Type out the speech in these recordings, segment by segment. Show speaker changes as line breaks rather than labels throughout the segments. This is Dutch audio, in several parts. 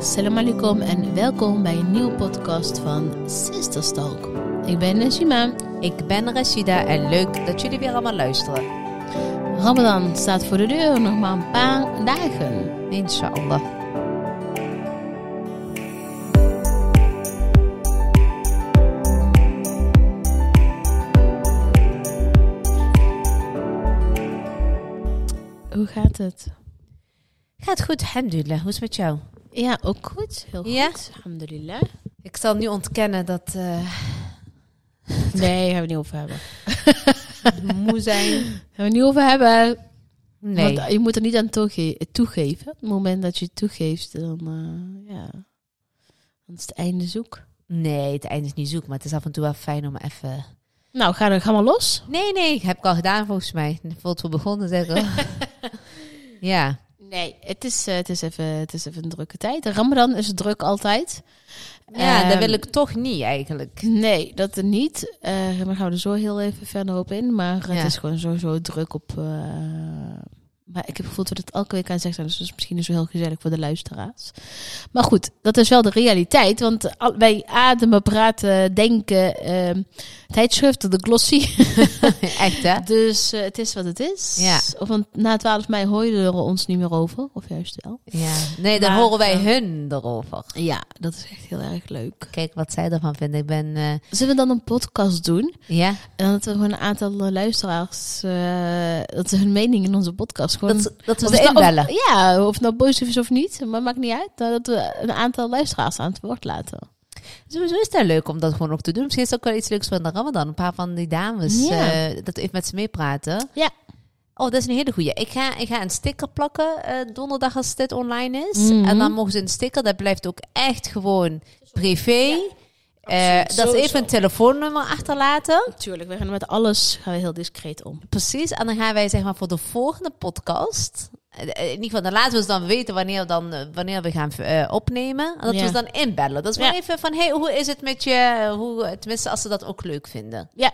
Salam alaikum en welkom bij een nieuwe podcast van Sisters Talk. Ik ben Najima.
Ik ben Rashida en leuk dat jullie weer allemaal luisteren.
Ramadan staat voor de deur, nog maar een paar dagen.
Inshallah.
Hoe gaat het?
Gaat goed, alhamdulillah. Hoe is het met jou?
Ja, ook goed. Heel goed.
Ja?
Alhamdulillah.
Ik zal nu ontkennen dat eh
Nee, gaan we het niet over hebben.
moe zijn.
Gaan we het niet over hebben.
Nee.
Want je moet er niet aan toege- toegeven. Op het moment dat je het toegeeft, dan, eh, ja. dan is het einde zoek.
Nee, het einde is niet zoek, maar het is af en toe wel fijn om even...
Nou, ga, dan- ga maar los.
Nee, nee, heb ik al gedaan volgens mij. Voordat we begonnen zeggen. ja.
Nee, het is, eh, het, is even, het is even een drukke tijd. De Ramadan is druk altijd.
Ja, dat
Ehm,
wil ik toch niet eigenlijk.
Nee, dat er niet. Eh dan gaan we er zo heel even verder op in. Maar het
Ja.
is gewoon sowieso druk op. eh, maar ik heb het gevoel dat we het elke week aan zeggen. Dus dat is misschien niet zo heel gezellig voor de luisteraars. Maar goed, dat is wel de realiteit. Want al- wij ademen, praten, denken. ehm tijdschriften, de glossy.
Echt hè?
Dus eh, het is wat het is.
Ja.
Of, want na 12 mei hoor je er ons niet meer over. Of juist wel.
Ja. Nee, dan
Maar,
horen wij
eh,
hun erover.
Ja, dat is echt heel erg leuk.
Kijk wat zij ervan vinden. Ik ben... eh,
Zullen we dan een podcast doen?
ja.
En dat we gewoon een aantal eh, luisteraars, eh, dat ze hun mening in onze podcast gewoon...
Dat, dat we
Of het
ze
nou-
inbellen.
of- ja, of het nou positief is of niet, maar maakt niet uit. Nou, Dat we een aantal luisteraars aan het woord laten.
Sowieso is het leuk om dat gewoon ook te doen. Misschien is het ook wel iets leuks van de Ramadan. Een paar van die dames,
Ja.
eh, dat we even met ze meepraten.
Ja.
Oh, dat is een hele goeie. Ik ga, ik ga een sticker plakken eh, donderdag als dit online is.
Mhm.
En dan mogen ze een sticker. Dat blijft ook echt gewoon privé. Eh,
absoluut.
dat ze
Sowieso.
even een telefoonnummer achterlaten.
Natuurlijk, we gaan met alles gaan we heel discreet om.
Precies. En dan gaan wij zeg maar voor de volgende podcast... eh, eh, In ieder geval, dan laten we ze dan weten wanneer, dan, eh, wanneer we gaan eh, opnemen. En dat
Ja.
we ze dan inbellen. Dat is
Ja.
maar even van, hey, hoe is het met je? Hoe, tenminste, als ze dat ook leuk vinden.
Ja,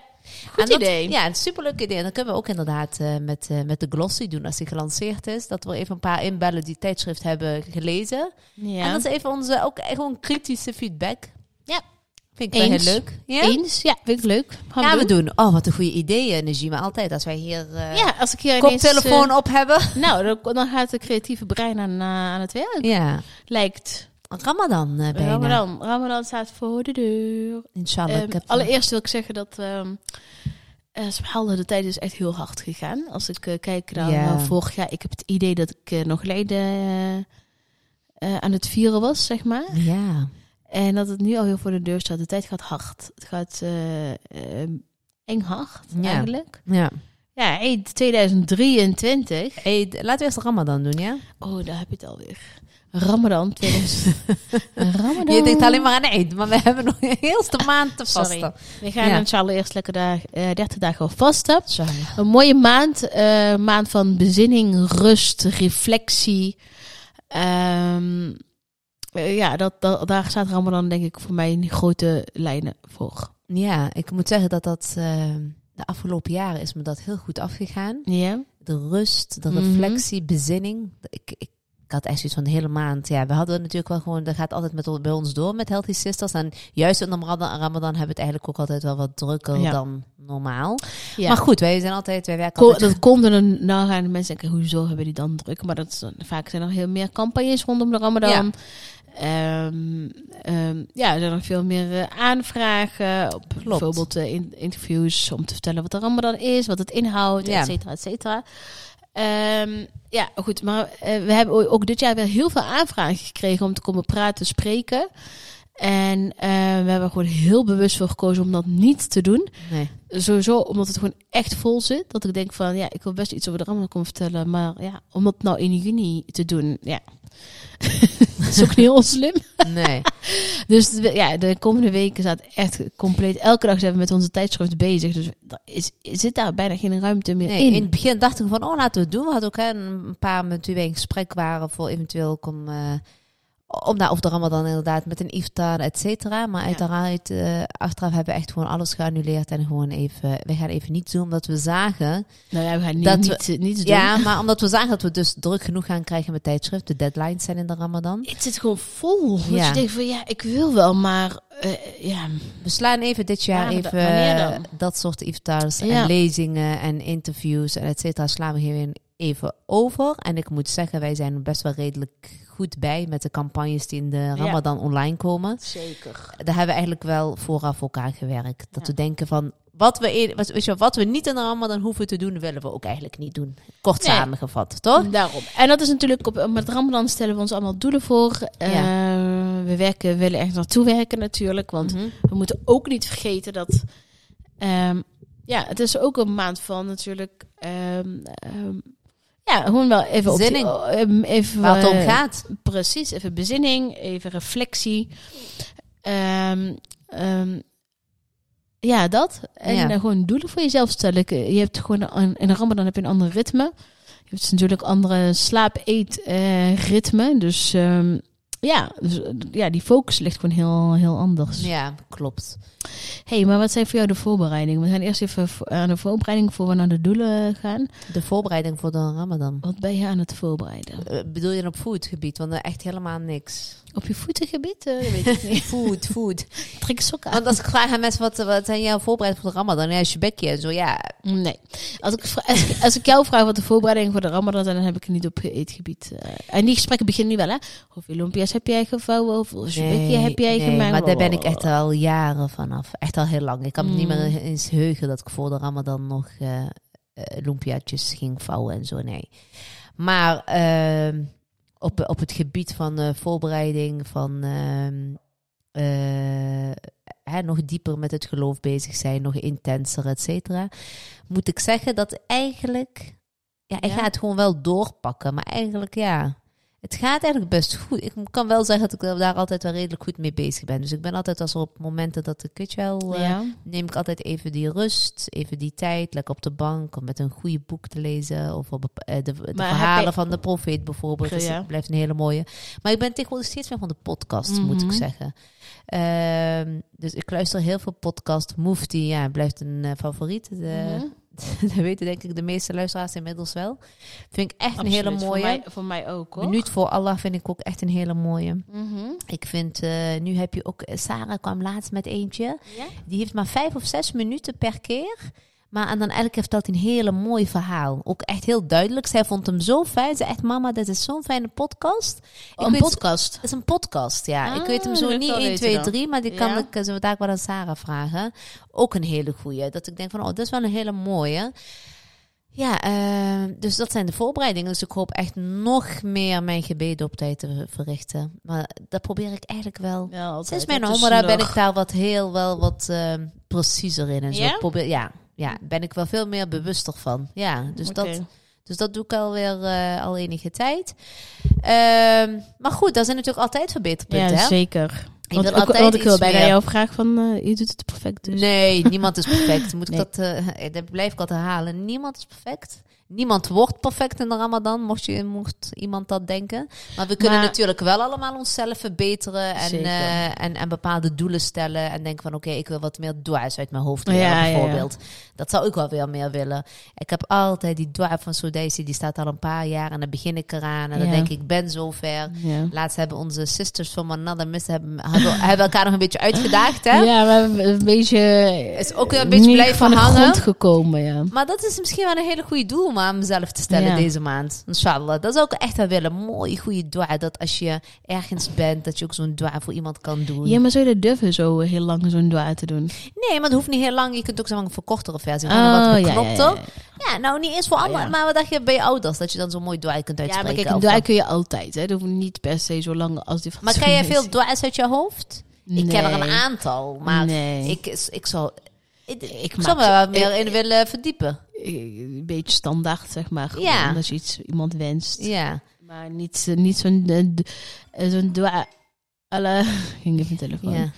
goed
En dat-
idee.
ja, een superleuk idee. En dan kunnen we ook inderdaad eh, met, eh, met de glossy doen als die gelanceerd is. Dat we even een paar inbellen die het tijdschrift hebben gelezen.
Ja.
En dat is even onze ook echt gewoon kritische feedback.
Ja.
Vind ik wel
Eens.
heel leuk. Ja?
Eens? Ja, vind ik leuk. Gaan
Gaan we doen. Oh, wat een goede ideeën, Najima. Altijd als wij hier eh
Ja, als ik hier ineens...
koptelefoon op hebben.
eh, nou, dan, dan gaat de creatieve brein aan, eh, aan het werk.
Ja.
Lijkt.
Ramadan eh, bijna.
Ramadan. Ramadan staat voor de deur.
Inshallah.
Ehm,
ik heb
allereerst wil ik zeggen dat ehm eh, subhanallah, de tijd is echt heel hard gegaan. Als ik eh, kijk naar
Ja.
eh, vorig jaar, ik heb het idee dat ik eh, nog Leiden eh, eh, aan het vieren was, zeg maar.
eh, Ja.
En dat het nu alweer voor de deur staat. De tijd gaat hard. Het gaat eh, eh, eng hard,
Ja.
eigenlijk.
ja.
Ja, hey, 2023.
Hey, d- laten we eerst Ramadan doen, ja?
Oh, daar heb je het alweer. Ramadan 2000. Ramadan.
Je denkt alleen maar aan Eid, maar we hebben nog een heelste maand te
Sorry.
vasten.
We gaan
Ja.
inshallah eerst lekker dag, eh 30 dagen vasten.
Inshallah.
Een mooie maand. eh, maand van bezinning, rust, reflectie. Ehm, eh, ja, dat, dat, daar staat Ramadan denk ik voor mij in die grote lijnen voor.
Ja, ik moet zeggen dat dat eh, de afgelopen jaren is me dat heel goed afgegaan.
Ja?
De rust, de
Mhm.
reflectie, bezinning. Ik, ik, ik had echt zoiets van de hele maand. Ja, we hadden natuurlijk wel gewoon, dat gaat altijd met, bij ons door met Healthy Sisters. En juist in de Ramadan, Ramadan hebben we het eigenlijk ook altijd wel wat drukker
Ja.
dan normaal.
ja.
Maar goed, wij zijn altijd, wij werken
Ko-
altijd
dat komt er dan nou gaan de mensen denken, hoezo hebben die dan druk? Maar dat is, dan- vaak zijn er heel meer campagnes rondom de Ramadan. Ehm, ehm, ja, er zijn nog veel meer eh, aanvragen. Op bijvoorbeeld eh, in- interviews om te vertellen wat de Ramadan is, wat het inhoudt,
Ja.
et cetera, et cetera. Ehm, ja, goed. Maar eh, we hebben o- ook dit jaar weer heel veel aanvragen gekregen om te komen praten, spreken. En eh, we hebben er gewoon heel bewust voor gekozen om dat niet te doen
Nee.
sowieso omdat het gewoon echt vol zit. Dat ik denk van, ja, ik wil best iets over de Ramadan komen vertellen. Maar ja, om dat nou in juni te doen, ja. is ook niet heel slim.
nee.
Dus we- ja, de komende weken staat echt compleet. Elke dag zijn we met onze tijdschrift bezig. Dus er is, zit daar bijna geen ruimte meer
Nee,
in.
in het begin dacht ik van, oh, laten we het doen. We hadden ook hè, een paar met wie wij in gesprek waren voor eventueel ook om, eh, om nou, of de Ramadan inderdaad met een iftar, et cetera. Maar uiteraard, eh, achteraf hebben we echt gewoon alles geannuleerd. En gewoon even, we gaan even niet doen, omdat we zagen...
Nou ja, we gaan
Dat
niet, niet, niet doen.
Ja, maar omdat we zagen dat we dus druk genoeg gaan krijgen met tijdschrift. De deadlines zijn in de Ramadan.
Het zit gewoon vol. Dat
Ja.
je denkt van, ja, ik wil wel, maar... eh, ja,
We slaan even dit
Ja,
jaar
maar
even
dat- wanneer dan?
eh, dat soort iftars
Ja.
en lezingen en interviews en et cetera. Slaan we gewoon even over. En ik moet zeggen, wij zijn er best wel redelijk goed bij met de campagnes die in de Ramadan online komen.
zeker.
Daar hebben we eigenlijk wel vooraf voor elkaar gewerkt.
Ja.
Dat we denken van, wat we, eer- wat, weet je, wel, wat we niet in de Ramadan hoeven te doen, willen we ook eigenlijk niet doen. Kort
Nee.
samengevat, toch?
Daarom. En dat is natuurlijk, op, met Ramadan stellen we ons allemaal doelen voor. Eh, we werken, we willen echt naartoe werken natuurlijk. Want
Mhm.
we moeten ook niet vergeten dat... ehm, ja, het is ook een maand van natuurlijk... ehm, ehm, ja, gewoon wel even... op die-
Zinning.
ehm, even,
Waar het om
eh,
gaat.
Precies, even bezinning, even reflectie. Ehm, ehm, ja, dat. En
Ja.
eh, gewoon doelen voor jezelf stellen. Ik, eh, Je hebt gewoon een, in de Ramadan heb je een ander ritme. Je hebt natuurlijk andere slaap-eet-ritme. dus ehm, ja, dus, eh, ja, die focus ligt gewoon heel, heel anders.
Ja, klopt.
hey, maar wat zijn voor jou de voorbereidingen? We gaan eerst even vo- aan de voorbereiding voor we naar de doelen gaan.
De voorbereiding voor de Ramadan.
Wat ben je aan het voorbereiden?
Eh, bedoel je dan op foodgebied? Want eh, echt helemaal niks.
Op je voetengebied? Eh, dat weet ik niet.
Food, food.
Trek sokken aan.
Want als ik vraag aan mensen wat, wat zijn jouw voorbereidingen voor de Ramadan? Ja, Shebekje en zo. Ja,
Nee. Als ik, vra- als, ik, als ik jou vraag wat de voorbereidingen voor de Ramadan zijn, dan heb ik het niet op eetgebied. eh. en die gesprekken beginnen nu wel, hè? Hoeveel lumpia's heb jij gevouwen? Hoeveel spekje heb jij Oh.
nee,
gemaakt?
Maar daar ben ik echt al jaren vanaf. Echt al heel lang. Ik kan me niet
Mm.
meer eens heugen dat ik voor de Ramadan nog eh eh, lumpiaatjes ging vouwen en zo. Nee. Maar ehm, op, op het gebied van eh, voorbereiding, van ehm, eh, hè, nog dieper met het geloof bezig zijn, nog intenser, et cetera. Moet ik zeggen dat eigenlijk. Ja, ik
Ja.
ga het gewoon wel doorpakken, maar eigenlijk ja. Het gaat eigenlijk best goed. Ik kan wel zeggen dat ik daar altijd wel redelijk goed mee bezig ben. Dus ik ben altijd als er op momenten dat ik, weet je wel, eh,
Ja.
neem ik altijd even die rust, even die tijd, lekker op de bank, om met een goede boek te lezen. Of op, eh, de, de
Maar heb
verhalen
je-
van de profeet bijvoorbeeld. Dus
Ja.
dat blijft een hele mooie. Maar ik ben tegenwoordig steeds meer van de podcast, moet ik
Mhm.
zeggen. Ehm, dus ik luister heel veel podcast. Mufti, ja, blijft een eh, favoriet. De,
Mhm.
dat weten denk ik de meeste luisteraars inmiddels wel. Vind ik echt
Absoluut,
een hele
Voor mij,
mooie.
voor mij ook, hoor.
Minuut voor Allah vind ik ook echt een hele mooie.
Mhm.
Ik vind, eh, nu heb je ook, eh, Sarah kwam laatst met eentje.
Ja?
Die heeft maar vijf of zes minuten per keer. Maar en dan elke keer vertelt hij een hele mooi verhaal. Ook echt heel duidelijk. Zij vond hem zo fijn. Ze echt, mama, dit is zo'n fijne podcast. Ik
Oh, een
weet-
podcast.
Het Oh, is een podcast, ja.
Ah,
ik weet hem
dat
zo
wil ik
niet
wel
1,
weten
2,
dan.
3. Maar die kan
Ja.
ik eh, zo vandaag wel aan Sarah vragen. Ook een hele goeie. Dat ik denk van, oh, dat is wel een hele mooie. Ja, eh, dus dat zijn de voorbereidingen. Dus ik hoop echt nog meer mijn gebeden op tijd te verrichten. Maar dat probeer ik eigenlijk wel
Ja, altijd.
Sinds mijn
Dat is
homera ben
nog-
ik daar wat heel wel wat ehm, preciezer in en zo.
Ja?
Ik Probeer, ja, ja, ben ik wel veel meer bewuster van. Ja, dus, dat,
Oké.
dus dat doe ik alweer eh, al enige tijd. Ehm, maar goed, daar zijn natuurlijk altijd verbeterpunten.
Ja,
hè?
zeker.
Ik
want,
wil
ik,
altijd
want ik wil
iets
bijna
meer.
jou vragen van, eh, je doet het perfect dus.
Nee, niemand is perfect. Moet
Nee.
ik dat, eh, dat blijf ik altijd herhalen. Niemand is perfect. Niemand wordt perfect in de Ramadan, mocht, je, mocht iemand dat denken. Maar we kunnen
Maar-
natuurlijk wel allemaal onszelf verbeteren en,
Zeker.
eh, en, en bepaalde doelen stellen. En denken van oké, ik wil wat meer dua's uit mijn hoofd leren,
Ja, ja, ja.
bijvoorbeeld. Dat zou ik wel weer meer willen. Ik heb altijd die dua van Sodaisi, die staat al een paar jaar en dan begin ik eraan. En dan
Ja.
denk ik, ik ben zover.
Ja.
Laatst hebben onze sisters van Manada Miss hebben, hadden- hebben elkaar nog een beetje uitgedaagd. Hè?
Ja, we hebben een beetje...
Is ook weer een beetje
niet
blijven
van de
hangen.
grond gekomen, ja.
Maar dat is misschien wel een hele goede doel om aan mezelf te stellen
Ja.
deze maand. Inshallah. Dat zou ik echt wel willen. Mooi goede dua. Dat als je ergens bent, dat je ook zo'n dua voor iemand kan doen.
Ja, maar zou je dat durven zo eh, heel lang zo'n dua te doen?
Nee, maar het hoeft niet heel lang. Je kunt ook zo'n verkortere versie. Gewoon een wat
Oh, ja, ja,
geknopter. Ja,
ja, ja.
nou niet eens voor anderen.
ja.
Maar wat dacht je bij je ouders? Dat je dan zo'n mooi dua kunt
Ja,
uitspreken.
maar kijk, een
of
dua
wat.
kun je altijd. Hè? Dat hoeft niet per se zo lang als die van
Maar krijg jij veel dua's uit je hoofd? Ik ken er een
Nee.
aantal. Maar
Nee.
ik, ik zou... Ik, ik
maak-
zou me wel meer
ik-
in willen verdiepen.
Een beetje standaard, zeg maar. Gewoon,
Ja.
Als je iets, iemand wenst.
Ja.
Maar niet, eh, niet zo'n eh, d- eh, zo'n dua... Alla, ging even mijn telefoon.
ja.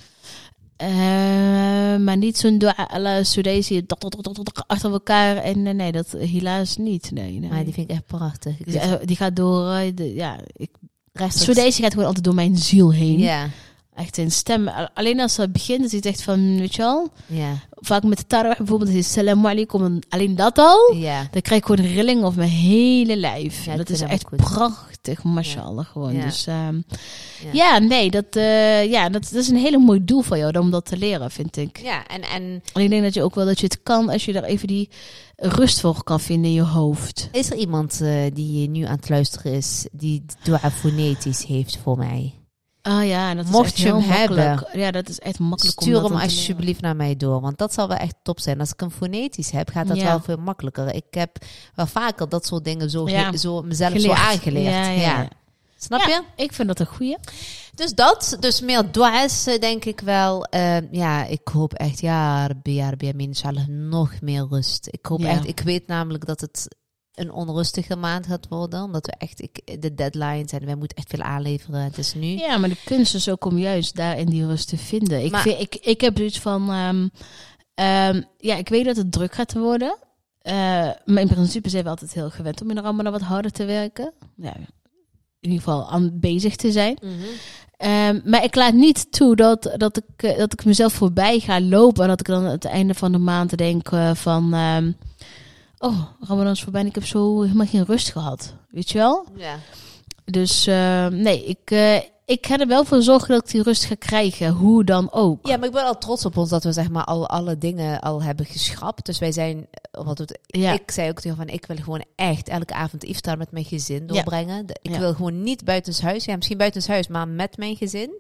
Eh, maar niet zo'n dua alla Soedaisi dok, dok, dok, dok, dok, achter elkaar. En eh, nee, dat eh, helaas niet. Nee, nee.
Maar die vind ik echt prachtig. Ik
Dus, eh, die gaat door. eh, de- ja, ik
Rest
Dus voor deze gaat gewoon altijd door mijn ziel heen.
Ja,
Echt in stem. Al- Alleen als het begint, is het echt van, weet je wel,
ja,
vaak met de tarwah bijvoorbeeld, is het salam alaikum, en alleen dat al.
ja.
Dan krijg ik gewoon een rilling over mijn hele lijf.
Ja, ik
dat
vind
is
hem
echt
ook goed.
prachtig, mashallah gewoon.
Ja.
Dus ehm,
Ja.
ja. nee, dat, eh, ja, dat, dat is een hele mooi doel van jou om dat te leren, vind ik.
Ja, en, en
En ik denk dat je ook wel dat je het kan als je daar even die rust voor kan vinden in je hoofd.
is er iemand eh, die nu aan het luisteren is, die dua fonetisch heeft voor mij?
Ah ja, en dat
Mocht
is echt
je
heel
hem hebben,
makkelijk. Ja, dat is echt makkelijk om
Stuur
dat
hem
dan te leren.
alsjeblieft naar mij door, want dat zal wel echt top zijn. Als ik hem fonetisch heb, gaat dat
Ja.
wel veel makkelijker. Ik heb wel vaker dat soort dingen zo, ge-
Ja.
zo mezelf
Geleerd.
zo aangeleerd.
Ja, ja, ja.
Snap
Ja,
je?
Ik vind dat een goeie.
Dus dat, dus meer dua's eh, denk ik wel. Eh, ja, ik hoop echt, ja, Rabbi, ja, Rabbi, amin, inshallah, nog meer rust. Ik hoop
Ja.
echt, ik weet namelijk dat het een onrustige maand gaat worden. Omdat we echt, ik, de deadlines en wij moeten echt veel aanleveren. Het is nu.
Ja, maar de kunst is ook om juist daarin die rust te vinden. Ik,
Maar-
vind, ik, ik heb zoiets van... ehm, ehm, ja, ik weet dat het druk gaat worden. Eh, maar in principe zijn we altijd heel gewend om in de Ramadan wat harder te werken. Ja, in ieder geval aan bezig te zijn.
Mhm.
Ehm, maar ik laat niet toe dat, dat, ik, eh, dat ik mezelf voorbij ga lopen. En dat ik dan aan het einde van de maand denk eh, van... ehm, oh, Ramadan is voorbij en ik heb zo helemaal geen rust gehad. Weet je wel?
Ja.
Dus eh, nee, ik, eh, ik ga er wel voor zorgen dat ik die rust ga krijgen. Hoe dan ook.
ja, maar ik ben al trots op ons dat we zeg maar al alle dingen al hebben geschrapt. Dus wij zijn, eh, wat het,
Ja.
ik zei ook tegen van, ik wil gewoon echt elke avond iftar met mijn gezin doorbrengen. De- Ik
Ja.
wil gewoon niet buitenshuis. Ja, misschien buitenshuis, maar met mijn gezin.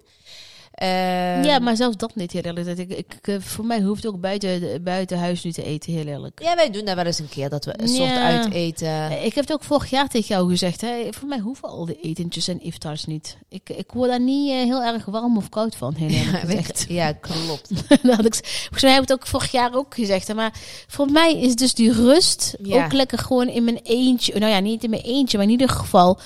Eh,
ja, maar zelfs dat niet heel eerlijk. Dat Ik, ik, eh, voor mij hoeft ook buiten, buiten huis nu te eten, heel eerlijk.
Ja, wij doen dat wel eens een keer, dat we een soort
Ja.
uiteten.
Eh, Ik heb het ook vorig jaar tegen jou gezegd. Hè? Voor mij hoeven al die etentjes en iftars niet. Ik, ik word daar niet eh, heel erg warm of koud van, heel eerlijk gezegd.
Ja, klopt.
Dat had ik, volgens mij heb ik het ook vorig jaar ook gezegd. hè, Maar voor mij is dus die rust
Ja.
ook lekker gewoon in mijn eentje. Nou ja, niet in mijn eentje, maar in ieder geval.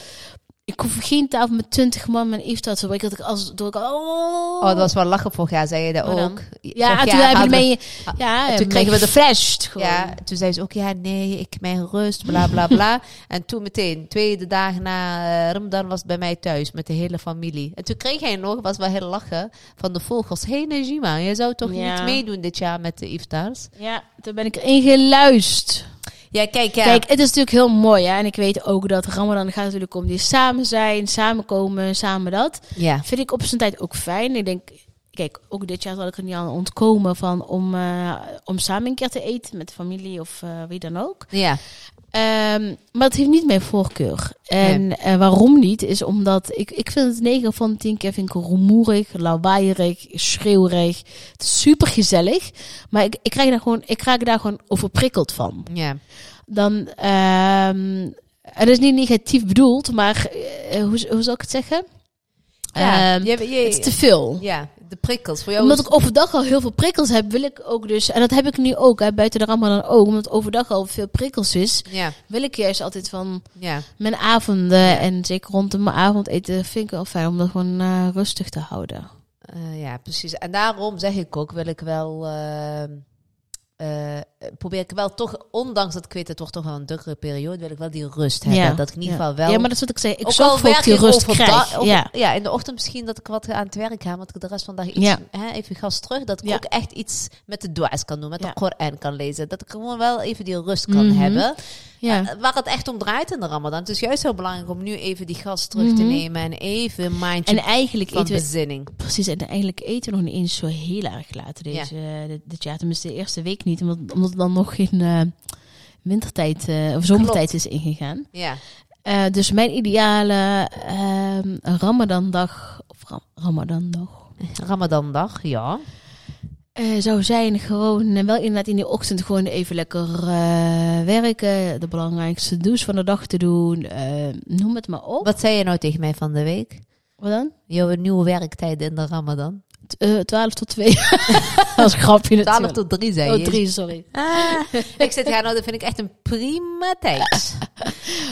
Ik hoef geen tafel met twintig man mijn iftar te bereiken. Dat ik als door ik oh,
Oh, dat was wel lachen vorig jaar, zei je dat
Wat dan?
ook.
ja, toen
Vorig jaar
hebben we
hadden
mee. Ja, eh,
toen kregen we de-
flashed gewoon.
Ja, toen zei ze ook, ja, nee, ik mijn rust, bla, bla, bla. en toen meteen, tweede dag na eh, Ramadan was het bij mij thuis met de hele familie. En toen kreeg hij nog, was wel heel lachen, van de volgers. Hé, hey, Najima, jij zou toch
Ja.
niet meedoen dit jaar met de iftars?
Ja, toen ben ik erin geluisterd.
Ja, kijk, ja.
Kijk, het is natuurlijk heel mooi. Hè? En ik weet ook dat Ramadan gaat natuurlijk om die samen zijn, samen komen, samen dat.
Ja.
Vind ik op zijn tijd ook fijn. Ik denk, kijk, ook dit jaar zal ik er niet aan ontkomen van om, eh, om samen een keer te eten met de familie of eh, wie dan ook.
Ja.
Ehm, maar het heeft niet mijn voorkeur. En eh, waarom niet, is omdat ik, ik vind het 9 van de 10 keer vind ik rumoerig, lawaaierig, schreeuwerig. Het is super gezellig. Maar ik, ik, krijg daar gewoon, ik raak daar gewoon overprikkeld van
Ja.
dan. ehm het is niet negatief bedoeld, maar eh, hoe, hoe zal ik het zeggen?
Ja,
Ehm,
je- je-
het is te veel.
ja, de prikkels. Voor jou
Omdat
is-
ik overdag al heel veel prikkels heb, wil ik ook dus. En dat heb ik nu ook, hè, buiten de Ramadan ook. Omdat overdag al veel prikkels is,
Ja,
wil ik juist altijd van
ja.
mijn avonden. En zeker rondom mijn avondeten vind ik wel fijn om dat gewoon eh, rustig te houden.
Eh, ja, precies. En daarom zeg ik ook, wil ik wel. eh, eh, probeer ik wel toch, ondanks dat ik weet, het wordt toch wel een drukkere periode, wil ik wel die rust hebben.
Ja,
Dat ik in ieder
ja.
geval wel.
Ja, maar dat is wat ik zei. Ik
ook
zorg
al
voor dat ik
werk
die
ik
rust
overdag-
krijg.
over-
ja.
ja, in de ochtend misschien dat ik wat aan het werk ga, want ik de rest van de dag iets,
Ja.
hè, even gas terug. Dat ik
Ja.
ook echt iets met de dua's kan doen, met
Ja.
de Koran kan lezen. Dat ik gewoon wel even die rust kan
Mhm.
hebben.
ja.
Eh, Waar het echt om draait in de Ramadan. Het is juist heel belangrijk om nu even die gas terug te
Mhm.
nemen en even een
En
mindje
eigenlijk
van
eten we
bezinning.
Precies, en eigenlijk eten we nog niet eens zo heel erg laat deze, eh, dit, dit jaar. Tenminste, de eerste week niet, omdat, omdat het dan nog geen eh, wintertijd eh, of zomertijd is ingegaan.
Ja.
Eh, dus mijn ideale ehm Ramadandag, of Ram Ramadandag,
Ramadandag, ja.
eh, zou zijn gewoon, eh, wel inderdaad in de ochtend gewoon even lekker eh, werken. De belangrijkste douche van de dag te doen, eh, noem het maar op.
Wat zei je nou tegen mij van de week?
Wat dan?
Jouw nieuwe werktijden in de Ramadan.
T- eh, 12 tot 2. Dat is een grapje
12
natuurlijk.
tot 3 zei je.
Oh, 3, sorry.
Ah, ik zit ja, nou, dat vind ik echt een prima tijd.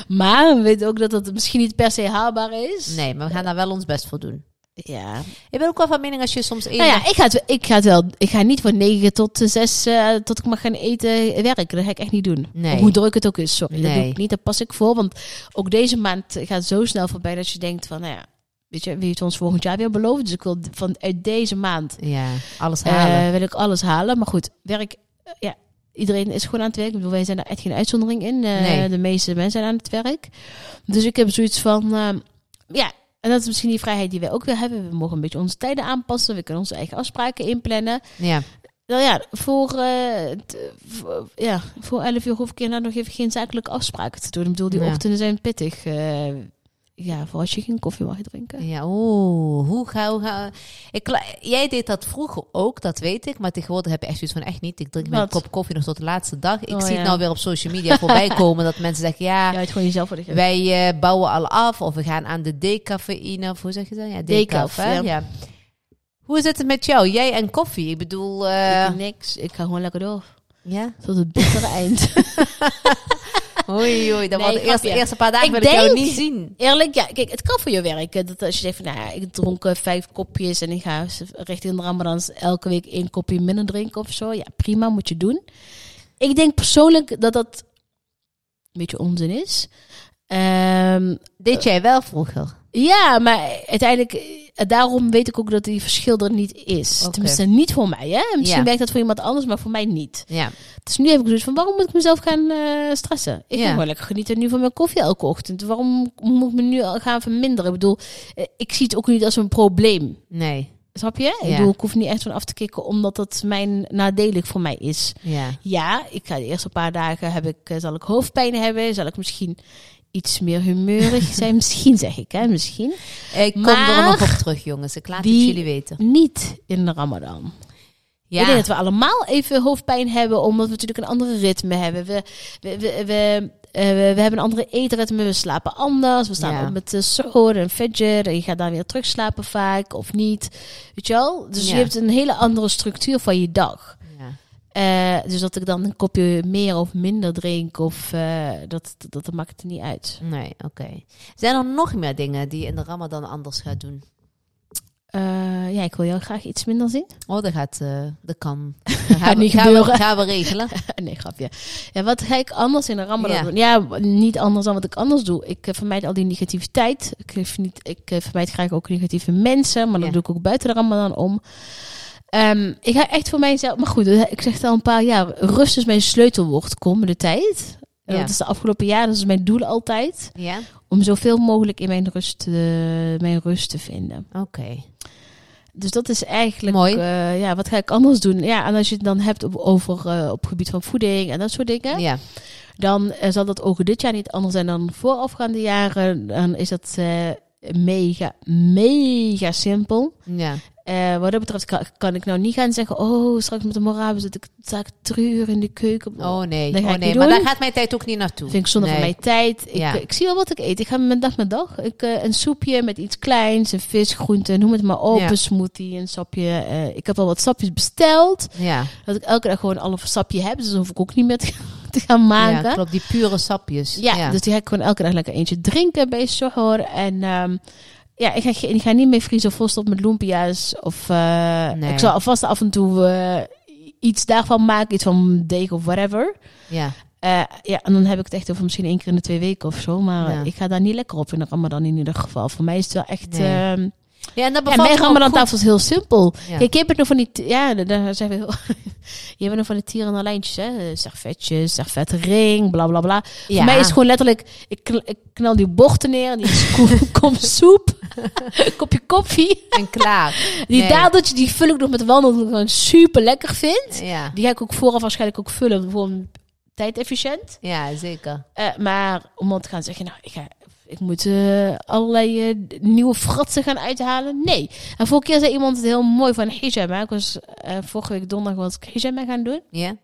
Maar we weten ook dat dat misschien niet per se haalbaar is.
Nee, maar we gaan daar wel ons best voor doen.
Ja.
Ik ben ook wel van mening als je soms één
Nou
dag-
ja, ik ga, het, ik ga het wel. Ik ga niet van 9 tot 6 eh, tot ik mag gaan eten werken. Dat ga ik echt niet doen.
Nee.
Hoe druk het ook is. Sorry, dat doe
Nee.
ik niet. Daar pas ik voor. Want ook deze maand gaat zo snel voorbij dat je denkt van, nou ja, weet je, wie heeft ons volgend jaar weer beloofd? Dus ik wil vanuit deze maand
ja, alles
eh,
halen.
wil ik alles halen. Maar goed, werk, eh, ja, iedereen is gewoon aan het werk. Ik bedoel, wij zijn daar echt geen uitzondering in. Eh,
Nee.
De meeste mensen zijn aan het werk. Dus ik heb zoiets van, eh, ja, en dat is misschien die vrijheid die wij ook weer hebben. We mogen een beetje onze tijden aanpassen. We kunnen onze eigen afspraken inplannen.
ja.
Nou ja, voor, eh, t- voor- ja, voor 11 uur hoef ik inderdaad nog even geen zakelijke afspraken te doen. Ik bedoel, die
Ja.
ochtenden zijn pittig. eh, ja, voor als je geen koffie mag drinken.
Ja, oeh, hoe ga, hoe ga ik, la- Jij deed dat vroeger ook, dat weet ik. Maar tegenwoordig heb je echt zoiets van, echt niet. Ik drink mijn
Wat?
kop koffie nog tot de laatste dag. Ik
Oh,
zie
ja.
het nou weer op social media voorbij komen dat mensen zeggen, ja,
Je houdt gewoon jezelf voor de gek.
wij eh, bouwen al af. Of we gaan aan de decafeïne, of hoe zeg je dat? Ja, decaf,
Decaf,
hè?
ja.
Ja. Hoe zit het met jou? Jij en koffie? Ik bedoel, eh,
Ik doe niks. Ik ga gewoon lekker door.
ja?
Tot het bittere eind.
Oei, oei, dat
Nee,
was de eerste,
grapje.
eerste paar dagen
Ik
wil ik jou
denk-
niet zien.
Eerlijk, ja, kijk, het kan voor je werken. Dat als je zegt van, nou ja, ik dronk eh, vijf kopjes en ik ga s- richting de ramadan elke week één kopje minder drinken of zo. Ja, prima, moet je doen. Ik denk persoonlijk dat dat een beetje onzin is. Ehm,
Deed jij wel vroeger?
ja, maar uiteindelijk, eh, daarom weet ik ook dat die verschil er niet is.
Oké.
Tenminste, niet voor mij. Hè? Misschien
Ja.
werkt dat voor iemand anders, maar voor mij niet.
Ja,
Dus nu heb ik zoiets van, waarom moet ik mezelf gaan eh, stressen? Ik
Ja.
wil gewoon lekker genieten nu van mijn koffie elke ochtend. Waarom moet ik me nu al gaan verminderen? Ik bedoel, eh, ik zie het ook niet als een probleem.
nee,
Snap je? Ik
Ja.
bedoel, ik hoef niet echt van af te kicken omdat dat mijn nadelig voor mij is.
ja.
Ja, ik ga de eerste paar dagen heb ik, eh, zal ik hoofdpijn hebben, zal ik misschien iets meer humeurig zijn. misschien zeg ik, hè, misschien.
Ik kom er
Maar-
nog op terug, jongens. Ik laat het
Die-
jullie weten.
Niet in de Ramadan.
Ja.
Ik denk dat we allemaal even hoofdpijn hebben, omdat we natuurlijk een andere ritme hebben. We, we, we, we, eh, we, we hebben een andere eetritme, we slapen anders. We staan
Ja.
op met de soor en fajr en je gaat daar weer terug slapen vaak of niet. Weet je wel? Dus
Ja.
je hebt een hele andere structuur van je dag.
Ja.
Eh, dus dat ik dan een kopje meer of minder drink, of, eh, dat, dat, dat maakt het niet uit.
Nee, oké. Zijn er nog meer dingen die je in de Ramadan anders gaat doen?
Eh, ja, ik wil jou graag iets minder zien.
Oh, dat gaat, eh dat kan. Dat gaan,
niet
we, gaan, we,
gebeuren.
gaan we regelen.
nee, grapje. Ja, wat ga ik anders in de Ramadan
Ja.
doen? Ja, niet anders dan wat ik anders doe. Ik eh, vermijd al die negativiteit. Ik, geef niet, ik eh, vermijd graag ook negatieve mensen. Maar
Ja.
dat doe ik ook buiten de Ramadan om. Ehm, ik ga echt voor mijzelf... Maar goed, eh, ik zeg het al een paar jaar. Rust is mijn sleutelwoord komende tijd. En
Ja.
Dat is de afgelopen jaren. Dat is mijn doel altijd.
Ja,
Om zoveel mogelijk in mijn rust, eh, mijn rust te vinden.
oké.
Dus dat is eigenlijk
Mooi.
eh, ja, wat ga ik anders doen? Ja, en als je het dan hebt op, over eh, op gebied van voeding en dat soort dingen,
Ja,
dan eh, zal dat ook dit jaar niet anders zijn dan voorafgaande jaren. Dan is dat eh, mega, mega simpel.
ja.
Eh, wat dat betreft kan, kan ik nou niet gaan zeggen, oh, straks met de morabe zit ik sta ik drie uur in de keuken.
Oh nee,
Dat ga
oh,
ik
nee.
niet
maar
doen.
daar gaat mijn tijd ook niet naartoe.
Dat vind ik zonde
nee.
van mijn tijd. Ik,
Ja.
eh, ik zie wel wat ik eet. Ik ga mijn dag met dag. Ik, eh, een soepje met iets kleins, een vis, groente, noem het maar op.
Ja.
Een smoothie, een sapje. eh, ik heb al wat sapjes besteld.
Ja,
Dat ik elke dag gewoon al een sapje heb. Dus dan hoef ik ook niet meer te, te gaan maken.
ja, klopt. Die pure sapjes.
eh, Ja, dus die ga ik gewoon elke dag lekker eentje drinken bij Sohor. En ehm, ja, ik ga, ge- ik ga niet meer vriezen of volstop met lumpia's. Of eh,
Nee.
ik zal alvast af en toe eh, iets daarvan maken. Iets van deeg of whatever.
ja.
Eh, ja, en dan heb ik het echt over misschien één keer in de twee weken of zo. Maar
Ja.
ik ga daar niet lekker op in de ramadan in ieder geval. Voor mij is het wel echt...
Nee.
ehm,
Ja, en
ja,
dat bevalt
mijn
me ook
ramadan
goed.
tafel is heel simpel.
Ja.
Kijk, je hebt het nog van die... t- Ja, da- daar zijn we heel... je hebt nog van de tieren en lijntjes, hè. Eh, Servetjes, servetring, bla bla bla.
Ja.
Voor mij is het gewoon letterlijk... Ik, kn- ik knal die bochten neer, die sco- kom soep, een kopje koffie.
En klaar.
Die
Nee.
dadeltje, die vul ik nog met wandel, omdat ik gewoon super lekker vind.
Ja,
Die ga ik ook vooraf waarschijnlijk ook vullen, gewoon tijdefficiënt.
ja zeker.
Eh, maar om dan te gaan zeggen, nou, ik, ga, ik moet eh, allerlei eh, d- nieuwe fratsen gaan uithalen. Nee. En vorige keer zei iemand het heel mooi van hijab. hè. Ik was eh, vorige week donderdag was ik hijab mee gaan doen.
Ja.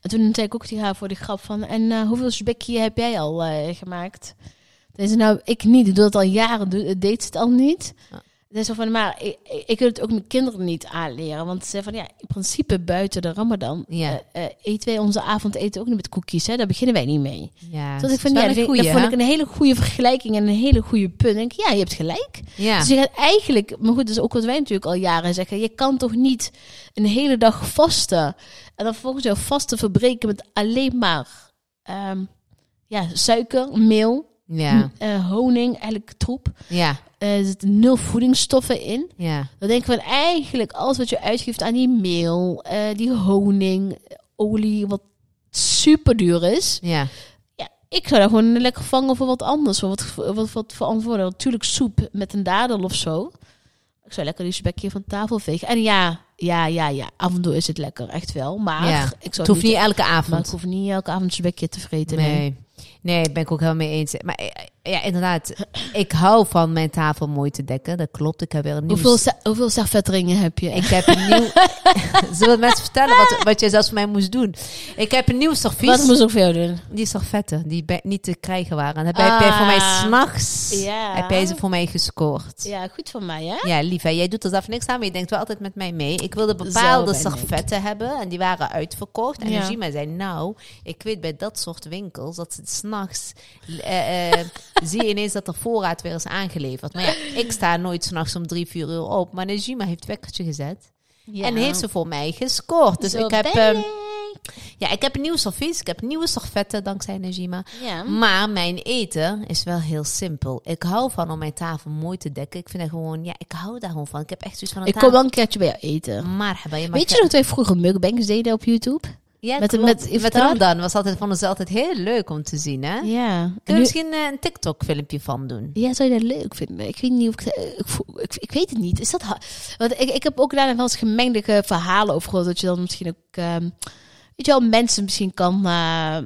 En toen zei ik ook tegen haar voor die grap van, en eh, hoeveel spekje heb jij al eh, gemaakt? Toen zei ze, nou, ik niet. Ik doe het al jaren. Doe, deed ze het al niet.
Ja.
Toen het is zo van, maar ik, ik- ik wil het ook mijn kinderen niet aanleren. Want ze zeggen van, ja, in principe buiten de ramadan
Ja.
eh, eh, eten wij onze avondeten ook niet met koekjes. Hè? Daar beginnen wij niet mee.
Ja,
dat ik van,
is
ja, dat,
wel een
vind- dat
goeie,
vond
hè?
ik een hele goede vergelijking en een hele goede punt. Ik denk, ja, je hebt gelijk.
Ja.
Dus je gaat eigenlijk, maar goed, dat is ook wat wij natuurlijk al jaren zeggen. Je kan toch niet een hele dag vasten en dan volgens jou vasten verbreken met alleen maar ehm, ja, suiker, meel,
ja,
eh, honing, eigenlijk troep.
ja,
Eh, er zitten nul voedingsstoffen in.
ja.
Dan denk ik van eigenlijk alles wat je uitgeeft aan die meel, eh, die honing, eh, olie, wat super duur is.
Ja,
Ja, ik zou daar gewoon lekker vangen voor wat anders. Voor wat, wat, wat voor antwoorden. Natuurlijk soep met een dadel of zo. Ik zou lekker die spekje van tafel vegen. En ja, ja, ja, ja. Af en toe is het lekker, echt wel. Maar
Ja.
ik
het
zou
hoeft niet
niet,
elke
maar ik
avond.
hoef niet elke avond een spekje te vreten. Nee.
Nee. nee, ben ik ook helemaal mee eens. Maar eh, ja, inderdaad, ik hou van mijn tafel mooi te dekken. Dat klopt, ik heb weer een nieuw...
Hoeveel, sa- hoeveel servetringen heb je?
Ik heb een nieuw... Zullen mensen vertellen wat, wat jij zelfs voor mij moest doen? Ik heb een nieuw
Wat
servies.
moet ik voor jou doen?
Die servetten, die bij- niet te krijgen waren. Dat heb jij voor mij
Ah.
s'nachts...
Ja.
Heb jij ze voor mij gescoord.
Ja, goed van mij, hè?
Ja, lief, hè. jij doet er zelf niks aan, maar je denkt wel altijd met mij mee. Ik wilde
Zo
bepaalde
ben ik.
servetten hebben en die waren uitverkocht. En
Ja.
ja. mij zei, nou, ik weet bij dat soort winkels dat ze s'nachts... eh eh, zie je ineens dat er voorraad weer is aangeleverd. Maar ja, ik sta nooit s'nachts om drie, vier uur op. Maar Najima heeft wekkertje gezet en heeft ze voor mij gescoord. Dus
Zo
ik heb...
ben
ehm, ja, ik heb een nieuw servies, ik heb nieuwe servetten dankzij Najima.
Ja.
Maar mijn eten is wel heel simpel. Ik hou van om mijn tafel mooi te dekken. Ik vind dat gewoon, ja, ik hou daar gewoon van. Ik heb echt zoiets van een
Ik kom
tafel.
wel een keertje bij jou eten.
Maar heb je
Weet je nog dat wij vroeger mukbangs deden op YouTube?
Ja,
met-
met,
met-
met,
vertel.
Ramadan was altijd, vonden ze altijd heel leuk om te zien, hè?
Ja.
Kun je misschien eh, een TikTok-filmpje van doen?
Ja, zou je dat leuk vinden? Ik weet niet of ik... eh, Ik, voel- ik, ik weet het niet. Is dat... ha- Want ik, ik heb ook daar wel eens gemengde eh, verhalen over gehoord. Dat je dan misschien ook... ehm, weet je wel, mensen misschien kan... eh,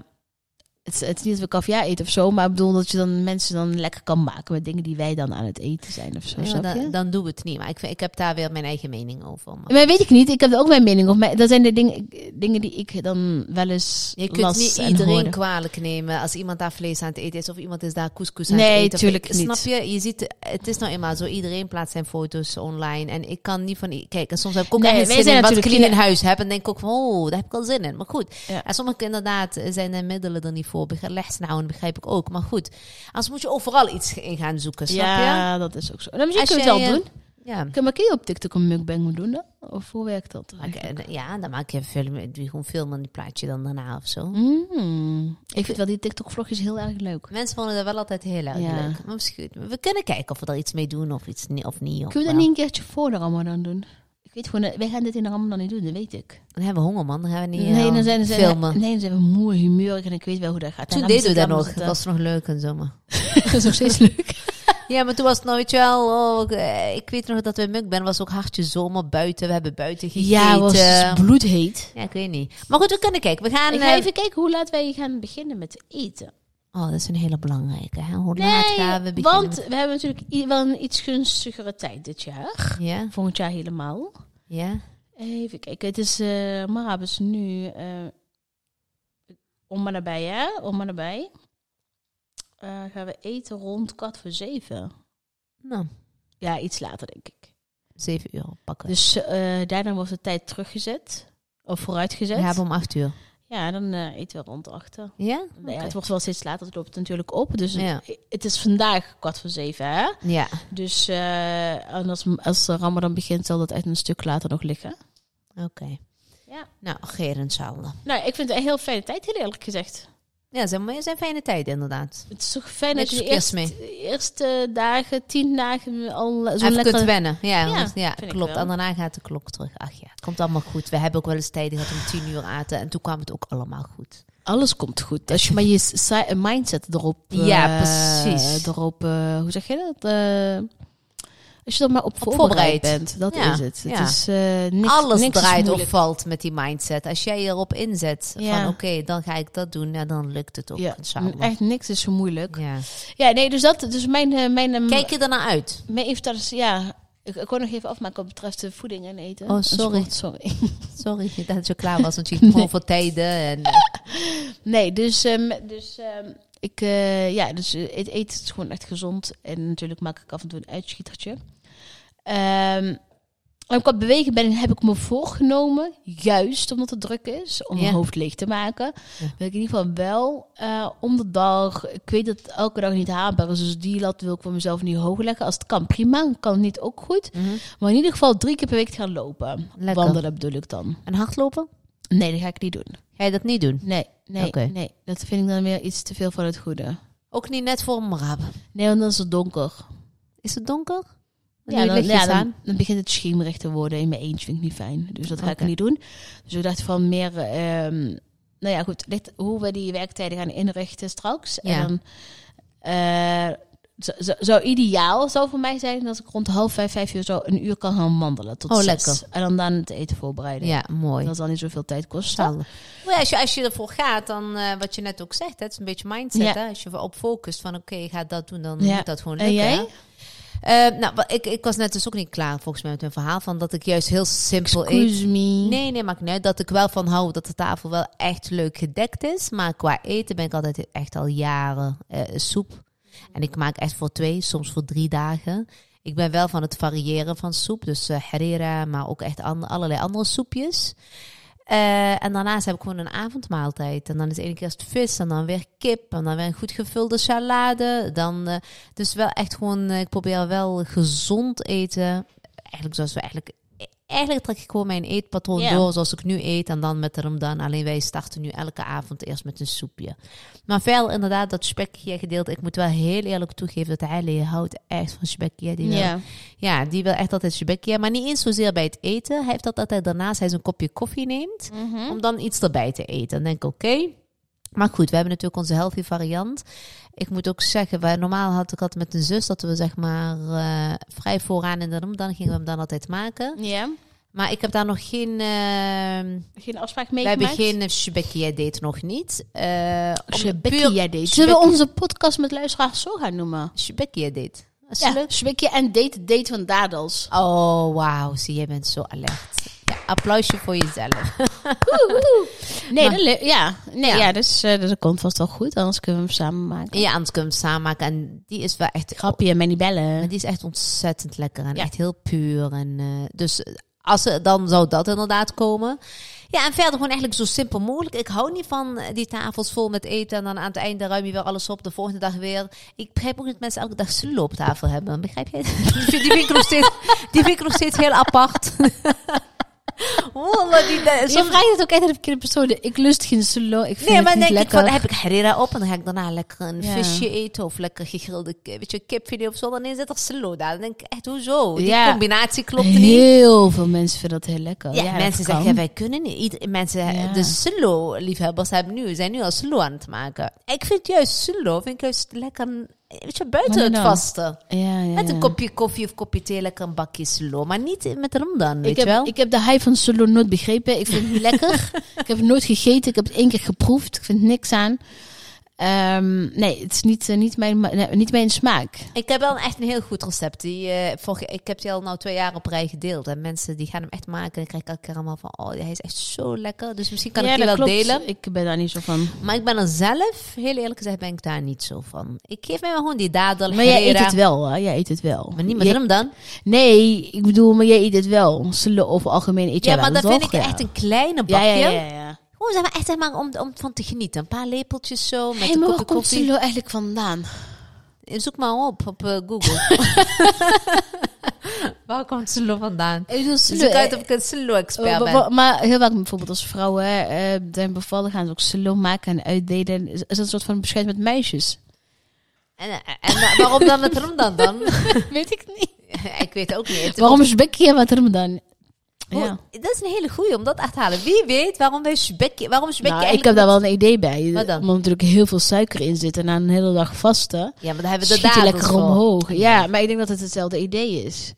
het, het is niet dat we kaviaar eten of zo. Maar ik bedoel dat je dan mensen dan lekker kan maken met dingen die wij dan aan het eten zijn of zo.
Ja,
snap je?
dan, dan doen we het niet. Maar ik, vind- ik heb daar weer mijn eigen mening over. Maar
Maar weet ik niet. Ik heb er ook mijn mening over. Maar dat zijn de dingen, dingen die ik dan wel eens
je kunt
las
niet
en
iedereen
hoorde.
kwalijk nemen als iemand daar vlees aan het eten is of iemand is daar couscous aan
Nee,
het eten. Of
tuurlijk
ik-
niet.
Snap je? Je ziet, het is nou eenmaal zo. Iedereen plaatst zijn foto's online en ik kan niet van, i- kijk, en soms heb ik ook
Nee, wij
echt geen zin
zijn
in wat ik
natuurlijk
hier in
geen-
huis heb en denk ik ook van, oh, daar heb ik al zin in. Maar goed,
Ja.
en sommige inderdaad eh, zijn de middelen er niet voor. Begrijp, legsnauwen begrijp ik ook. Maar goed, anders moet je overal iets in gaan zoeken, snap je?
Ja, dat is ook zo. Dan misschien
Als
kun je het
jij,
wel
eh,
doen.
Ja.
Kun- Maar kun je op TikTok een mukbang doen? dan? Of hoe werkt dat?
Maak- eh, Ja, dan maak je een film, doe je gewoon film en die plaat je dan daarna of zo.
Mm. Ik vind wel die TikTok-vlogjes heel erg leuk.
Mensen vonden dat wel altijd heel erg
Ja.
leuk. Maar misschien, we kunnen kijken of we er iets mee doen of iets niet. Of niet of
Kunnen we
wel.
dat niet een keertje voor de Ramadan doen? Ik weet gewoon, eh, wij gaan dit in de Ramadan niet doen, dat weet ik.
Dan hebben we honger, man. Dan gaan we niet
nee,
eh,
dan zijn, dan zijn,
filmen.
nee, dan zijn we moe, humeurig en ik weet wel hoe dat gaat.
Toen
Daarom
deden we dat
zitten
nog.
allemaal
Dat was nog leuk en zo, maar...
zitten- dat is eh, nog steeds leuk.
Ja, maar toen was het nou, weet je wel... Oh, ik, eh, ik weet nog dat we in Mukben was ook hartje zomer buiten. We hebben buiten gegeten.
Ja, het was bloedheet.
Ja, ik weet niet. Maar goed, we kunnen kijken. We gaan...
Ik ga
eh,
even kijken hoe laat wij gaan beginnen met eten.
Oh, dat is een hele belangrijke. Hè? Hoe laat gaan we
Nee,
beginnen?
want we hebben natuurlijk i- wel een iets gunstigere tijd dit jaar.
met- Ja?
Volgend jaar helemaal.
Ja?
Even kijken, het is eh Marab is nu eh, om maar nabij, hè? Om maar nabij. Eh, gaan we eten rond kwart voor zeven?
Nou,
Ja, iets later denk ik.
zeven uur pakken.
Dus eh, daarna wordt de tijd teruggezet of
we
vooruitgezet. Ja,
hebben om acht uur.
dan eh, eten we rond achter.
Ja?
Nou ja,
Oké.
het wordt wel steeds later, het loopt natuurlijk op. Dus
Ja.
het is vandaag kwart voor zeven, hè?
Ja.
Dus eh, en als, als de Ramadan begint, zal dat echt een stuk later nog liggen.
Oké.
Ja.
Nou, Gerend zal.
Nou, ik vind het een heel fijne tijd, heel eerlijk gezegd.
Ja, ze maar het zijn fijne tijden inderdaad.
Het is toch fijn
Niks
dat je de
verkeerds
eerste, eerste dagen, tien dagen al zo'n
Even kunt
lekker...
wennen. Ja,
Ja,
want- ja,
vind ik
klopt.
wel.
En daarna gaat de klok terug. Ach ja, het komt allemaal goed. We hebben ook wel eens tijden gehad om tien uur aten. En toen kwam het ook allemaal goed.
Alles komt goed. Als je maar je si- mindset erop... eh,
Ja, precies.
Erop, eh, hoe zeg je dat? Eh, als je er maar op,
voorbereid.
voorbereid, bent. Dat
Ja,
is het.
ja.
Het is eh, niks,
Alles
niks is
draait of
moeilijk.
valt met die mindset. Als jij erop inzet
Ja.
van oké, dan ga ik dat doen. Ja, dan lukt het ook.
Ja,
inshallah.
echt niks is zo moeilijk. Ja,
Ja.
nee, dus dat... Dus mijn... eh, mijn eh,
Kijk je ernaar uit?
mijn evenaars, ja... Ik, ik wou nog even afmaken wat betreft de voeding en eten.
Oh,
En
sorry.
sport, sorry.
Sorry dat het zo klaar was. Want je ging gewoon voor tijden. En, eh,
Nee, dus, ehm, dus ehm, ik eh, ja, dus eh, het eten is gewoon echt gezond. En natuurlijk maak ik af en toe een uitschietertje. Ehm, Ehm en qua bewegen ben, heb ik me voorgenomen, juist omdat het druk is, om mijn
Ja.
hoofd leeg te maken.
Ja.
Wil ik in ieder geval wel eh, om de dag, ik weet dat het elke dag niet haalbaar is, dus die lat wil ik voor mezelf niet hoog leggen. Als het kan, prima. Kan het niet ook goed. Maar in ieder geval drie keer per week te gaan lopen.
Lekker.
Wandelen bedoel ik dan.
En hardlopen?
Nee, dat ga ik niet doen.
Ga je dat niet doen?
Nee, nee,
Oké.
nee. Dat vind ik dan weer iets te veel van het goede.
Ook niet net voor een raap.
Nee, want dan is het donker.
Is het donker?
Ja, dan, ja,
ja,
dan, dan begint het schemerig te worden. In mijn eentje vind ik niet fijn. Dus dat ga
Oké.
ik niet doen. Dus ik dacht van meer... ehm, nou ja, goed. ligt hoe we die werktijden gaan inrichten straks.
Ja.
En dan, eh, zo, zo, zou ideaal zou voor mij zijn dat ik rond half vijf, vijf uur zo een uur kan gaan wandelen. Tot
Oh,
zes.
lekker.
En dan dan het eten voorbereiden.
ja, mooi.
Dat zal niet zoveel tijd kosten.
Nou Ja, als, je, als je ervoor gaat, dan eh, wat je net ook zegt, hè, het is een beetje mindset.
Ja.
Hè? Als je op focust van oké, je gaat dat doen, dan
Ja.
moet dat gewoon
En
lukken.
jij?
hè. Eh, nou, wa- ik, ik was net dus ook niet klaar volgens mij met mijn verhaal van dat ik juist heel simpel eet.
Excuse me.
Nee, nee, maakt niet uit. Dat ik wel van hou dat de tafel wel echt leuk gedekt is. Maar qua eten ben ik altijd echt al jaren eh, soep. En ik maak echt voor twee, soms voor drie dagen. Ik ben wel van het variëren van soep. Dus eh herrera, maar ook echt an- allerlei andere soepjes. Eh, en daarnaast heb ik gewoon een avondmaaltijd. En dan is de ene keer is het vis, en dan weer kip, en dan weer een goed gevulde salade. Dan, eh, dus wel echt gewoon, eh, ik probeer wel gezond eten. Eigenlijk zoals we eigenlijk... e-, Eigenlijk trek ik gewoon mijn eetpatroon
Ja.
door zoals ik nu eet en dan met de ramadan. Alleen wij starten nu elke avond eerst met een soepje. Maar veel inderdaad, dat spekje gedeelte. Ik moet wel heel eerlijk toegeven dat Ali houdt echt van spekje. Die wil
Ja.
ja, die wil echt altijd Shabekkia. Maar niet eens zozeer bij het eten. Hij heeft dat altijd daarnaast hij zijn kopje koffie neemt.
Mhm.
Om dan iets erbij te eten. Dan denk ik, oké. Maar goed, we hebben natuurlijk onze healthy variant. Ik moet ook zeggen, wij, normaal had ik altijd met een zus dat we zeg maar eh, vrij vooraan in de room, dan gingen we hem dan altijd maken.
ja.
Maar ik heb daar nog geen, eh
Geen afspraak mee
we hebben
gemaakt?
geen Shabekkia date nog niet. Eh om-
Shebekia date.
puur-
Zullen we
Shebekia-
onze podcast met luisteraars zo gaan noemen?
Shabekkia date. Dat is leuk.
Ja, Shebekia en date, date van dadels.
Oh, wauw. Zie, jij bent zo alert. Ja, applausje voor jezelf.
Nee,
Maar-
dat le- ja. Nee,
Nou. Ja.
ja. dus, eh, dus dat komt vast wel goed, anders kunnen we hem samen maken.
Ja, anders kunnen we het samen maken. En die is wel echt...
Grappie en mij niet
Maar
bellen.
die is echt ontzettend lekker en
Ja.
echt heel puur. En, eh, dus als ze, dan zou dat inderdaad komen. Ja, en verder gewoon eigenlijk zo simpel mogelijk. Ik hou niet van eh, die tafels vol met eten en dan aan het einde ruim je weer alles op. De volgende dag weer. Ik begrijp ook dat mensen elke dag zullen op tafel hebben. Begrijp jij? dat? Die vind, die vind ik, nog steeds, die vind ik nog steeds heel apart. Wallah, die, eh,
Je
soms-
vraagt het ook echt aan de verkeerde persoon. Ik lust geen solo, ik vind
Nee,
het
maar
niet
denk ik
lekker.
van, heb ik herrera op en dan ga ik daarna lekker een
Ja.
visje eten of lekker gegrilde k- weet je, kipfilet of zo. Dan zit er selo daar. Dan denk ik echt, hoezo? Die
Ja.
combinatie klopt niet.
Heel veel mensen vinden dat heel lekker.
Ja,
dat
mensen
kan.
zeggen, ja, wij kunnen niet. Ieder- mensen,
Ja.
de selo-liefhebbers hebben nu, zijn nu al selo aan het maken. Ik vind juist selo, vind ik juist lekker, weet je, buiten
Maar
het
dan?
vaste.
ja, ja,
Met een
ja.
kopje koffie of kopje thee, lekker een bakje selo. Maar niet met ramadan, weet
Ik
je wel?
heb, ik heb de high van solo nooit begrepen. Ik vind het niet lekker. Ik heb het nooit gegeten. Ik heb het één keer geproefd. Ik vind niks aan. Ehm, nee, het is niet, eh, niet, mijn, ma- nee, niet mijn smaak.
Ik heb wel echt een heel goed recept. Die, eh, vorige, ik heb die al nou twee jaar op rij gedeeld. En mensen die gaan hem echt maken. En dan krijg ik elke keer allemaal van, oh, hij is echt zo lekker. Dus misschien kan
Ja,
ik die wel
dat klopt.
delen.
Ik ben daar niet zo van.
Maar ik ben er zelf, heel eerlijk gezegd, ben ik daar niet zo van. Ik geef mij wel gewoon die dadel.
Maar jij eet
herrera.
het wel, hè? Jij eet het wel.
Maar niet met
Jij-
hem dan.
Nee, ik bedoel, maar jij eet het wel. Zullen over algemeen eet jij
Ja, maar
wel,
dan vind
toch?
ik
Ja.
echt een kleine
ja,
bakje.
ja, ja, ja.
Gewoon zeg maar echt zeg maar, om, om van te genieten. Een paar lepeltjes zo, met
Hey,
een
maar
kopje
waar komt
koffie.
Silo eigenlijk vandaan?
Zoek maar op, op eh, Google. Waar komt Silo vandaan?
Dus Ik bedoel,
Zoek uit of ik een Silo-expert ben.
Eh, maar heel vaak bijvoorbeeld als vrouwen eh, zijn bevallen, gaan ze ook silo maken en uitdelen. Is, is dat een soort van bescheid met meisjes?
En, eh, en- en waarom dan met Ramadan dan?
Weet ik niet.
ik weet ook niet. Het
Waarom is Becky wat er dan?
komt-
Ja.
Oh, Dat is een hele goeie om dat echt te halen. Wie weet waarom wij Shbekje... Waarom Shbekje
Nou, ik heb daar wel een idee bij.
Wat dan?
Omdat er natuurlijk heel veel suiker in zit en na een hele dag vasten.
Ja, maar daar hebben we de
schiet je
dadels
lekker
voor.
omhoog. Ja, maar ik denk dat het hetzelfde idee is.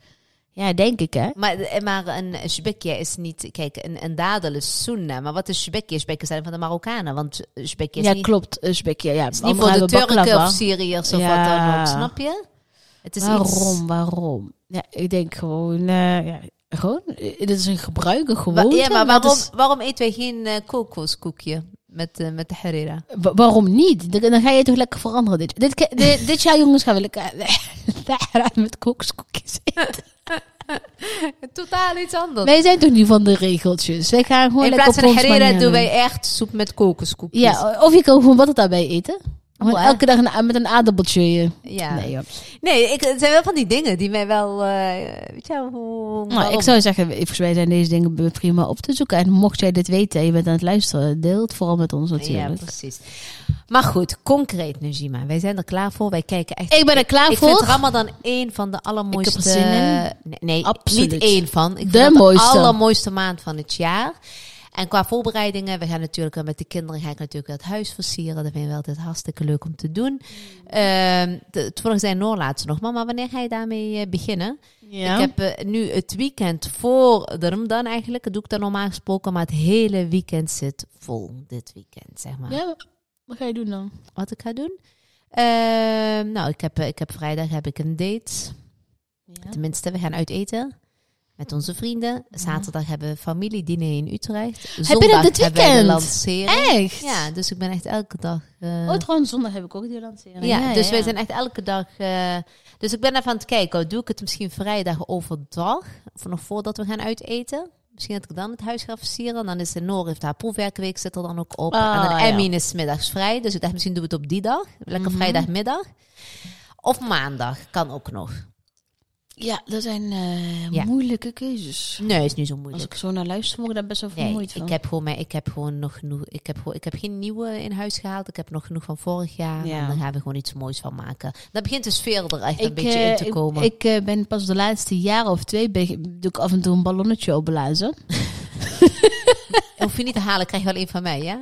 Ja, denk ik, hè?
Maar, eh, maar een Shbekje is niet... Kijk, een, een dadel is sunna. Maar wat is Shbekje? Shbekje zijn van de Marokkanen. Want Shbekje is
ja,
niet,
klopt. Een spekje. Ja,
is niet voor de Turken of Syriërs of wat dan
Ja.
ook. Snap je? Het is
Waarom?
iets...
Waarom? Ja, ik denk gewoon... eh, ja, gewoon, eh, dit is een gebruiken
Wa-
gewoon.
ja, maar
dus-
waarom, waarom eten wij geen eh, kokoskoekje met, eh, met de harira?
Wa- waarom niet? Dan, dan ga je toch lekker veranderen. Dit, Oh. dit, ke- dit, dit jaar, jongens, gaan we lekker met kookskoekjes eten.
totaal iets anders.
Wij zijn toch niet van de regeltjes. Wij gaan gewoon
In
lekker
plaats
op
van
ons
herrera
manier
doen
doen.
wij echt soep met kokoskoekjes.
Ja, of je kan gewoon wat daarbij eten. Gewoon
Mooi, hè?
elke dag een a- met een aardappeltje.
Ja.
Nee, joh.
Nee, ik, het zijn wel van die dingen die mij wel... eh, weet je wel, hoe...
Nou, ik
waarom-
zou zeggen, volgens mij zijn deze dingen prima op te zoeken. En mocht jij dit weten en je bent aan het luisteren, deel het vooral met ons
Ja,
natuurlijk.
precies. Maar goed, concreet nu, Zima. Wij zijn er klaar voor. Wij kijken echt...
ik ben er klaar
ik
voor.
vind Ramadan één van de allermooiste...
Ik heb er zin in.
Nee, nee,
Absoluut.
niet één van. Ik
De
vind het
mooiste.
de allermooiste maand van het jaar. En qua voorbereidingen, we gaan natuurlijk eh, met de kinderen ga ik natuurlijk het huis versieren. Dat vinden we altijd hartstikke leuk om te doen. Ehm de- Toevallig zei Noor laatst nog, mama, wanneer ga je daarmee eh, beginnen?
Ja.
Ik heb eh, nu het weekend voor de Ramadan eigenlijk, dat doe ik dan normaal gesproken, maar het hele weekend zit vol dit weekend, zeg maar.
Ja, wat ga je doen dan?
Wat ik ga doen? Ehm, nou, ik heb, eh, ik heb vrijdag heb ik een date. Tenminste, we gaan uit eten met onze vrienden. Zaterdag hebben we familiediner in Utrecht. Zondag
dit
hebben wij de
weekend?
lancering.
Echt?
Ja, dus ik ben echt elke dag... eh,
Oh, trouwens, zondag heb ik ook die lancering.
ja, dus wij zijn echt elke dag. eh, dus ik ben even aan het kijken. oh, Doe ik het misschien vrijdag overdag? Of nog voordat we gaan uiteten? Misschien dat ik dan het huis ga versieren. Dan is de Noor heeft haar proefwerkweek, zit er dan ook op.
Ah,
en dan
ja. Mhm.
Emmy is 's middags vrij. Dus ik dacht, misschien doen we het op die dag. Lekker vrijdagmiddag. Of maandag kan ook nog.
Ja, dat zijn eh,
Ja.
moeilijke keuzes.
Nee, is niet zo
Als
moeilijk.
ik zo naar luister, word ik daar best wel
Nee,
vermoeid van.
ik heb gewoon, mijn- ik heb gewoon nog genoeg. Ik heb, gewoon- ik heb geen nieuwe in huis gehaald. Ik heb nog genoeg van vorig jaar.
Ja.
En daar gaan we gewoon iets moois van maken. Dan begint de sfeer er echt een
Ik,
beetje
eh,
in te
ik-
komen.
Ik, eh, ben pas de laatste jaren of twee be- doe ik af en toe een ballonnetje opblazen.
Hoef je niet te halen, krijg je wel één van mij, ja?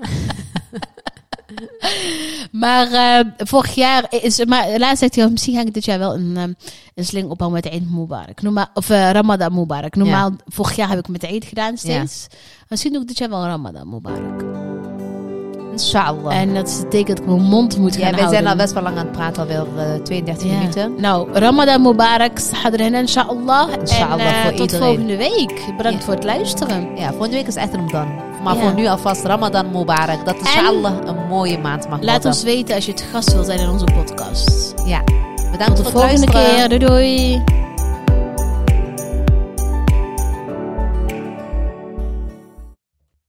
Maar eh, vorig jaar is, maar laatst zegt hij, oh, misschien ga ik dit jaar wel een, ehm, een sling ophangen met Eid Mubarak. Normaal, of eh, Ramadan Mubarak. Normaal, vorig jaar heb ik met Eid gedaan steeds. Misschien doe ik dit jaar wel Ramadan Mubarak.
Inshallah.
En dat betekent dat ik mijn mond moet gaan
ja, wij
houden.
zijn al best wel lang aan het praten, alweer eh, 32
Ja.
minuten.
Nou, Ramadan Mubarak, Hadren inshallah. en
Inshallah
eh,
voor
tot
iedereen.
volgende week. Bedankt
Ja.
voor het luisteren.
Ja, volgende week is echt een dan. Maar
Ja.
voor nu alvast Ramadan Mubarak. Dat inshallah een mooie maand mag
Laat
worden.
ons weten als je het gast wil zijn in onze podcast.
Ja. Bedankt
Tot de
voor het
volgende
luisteren.
keer. Doei doei.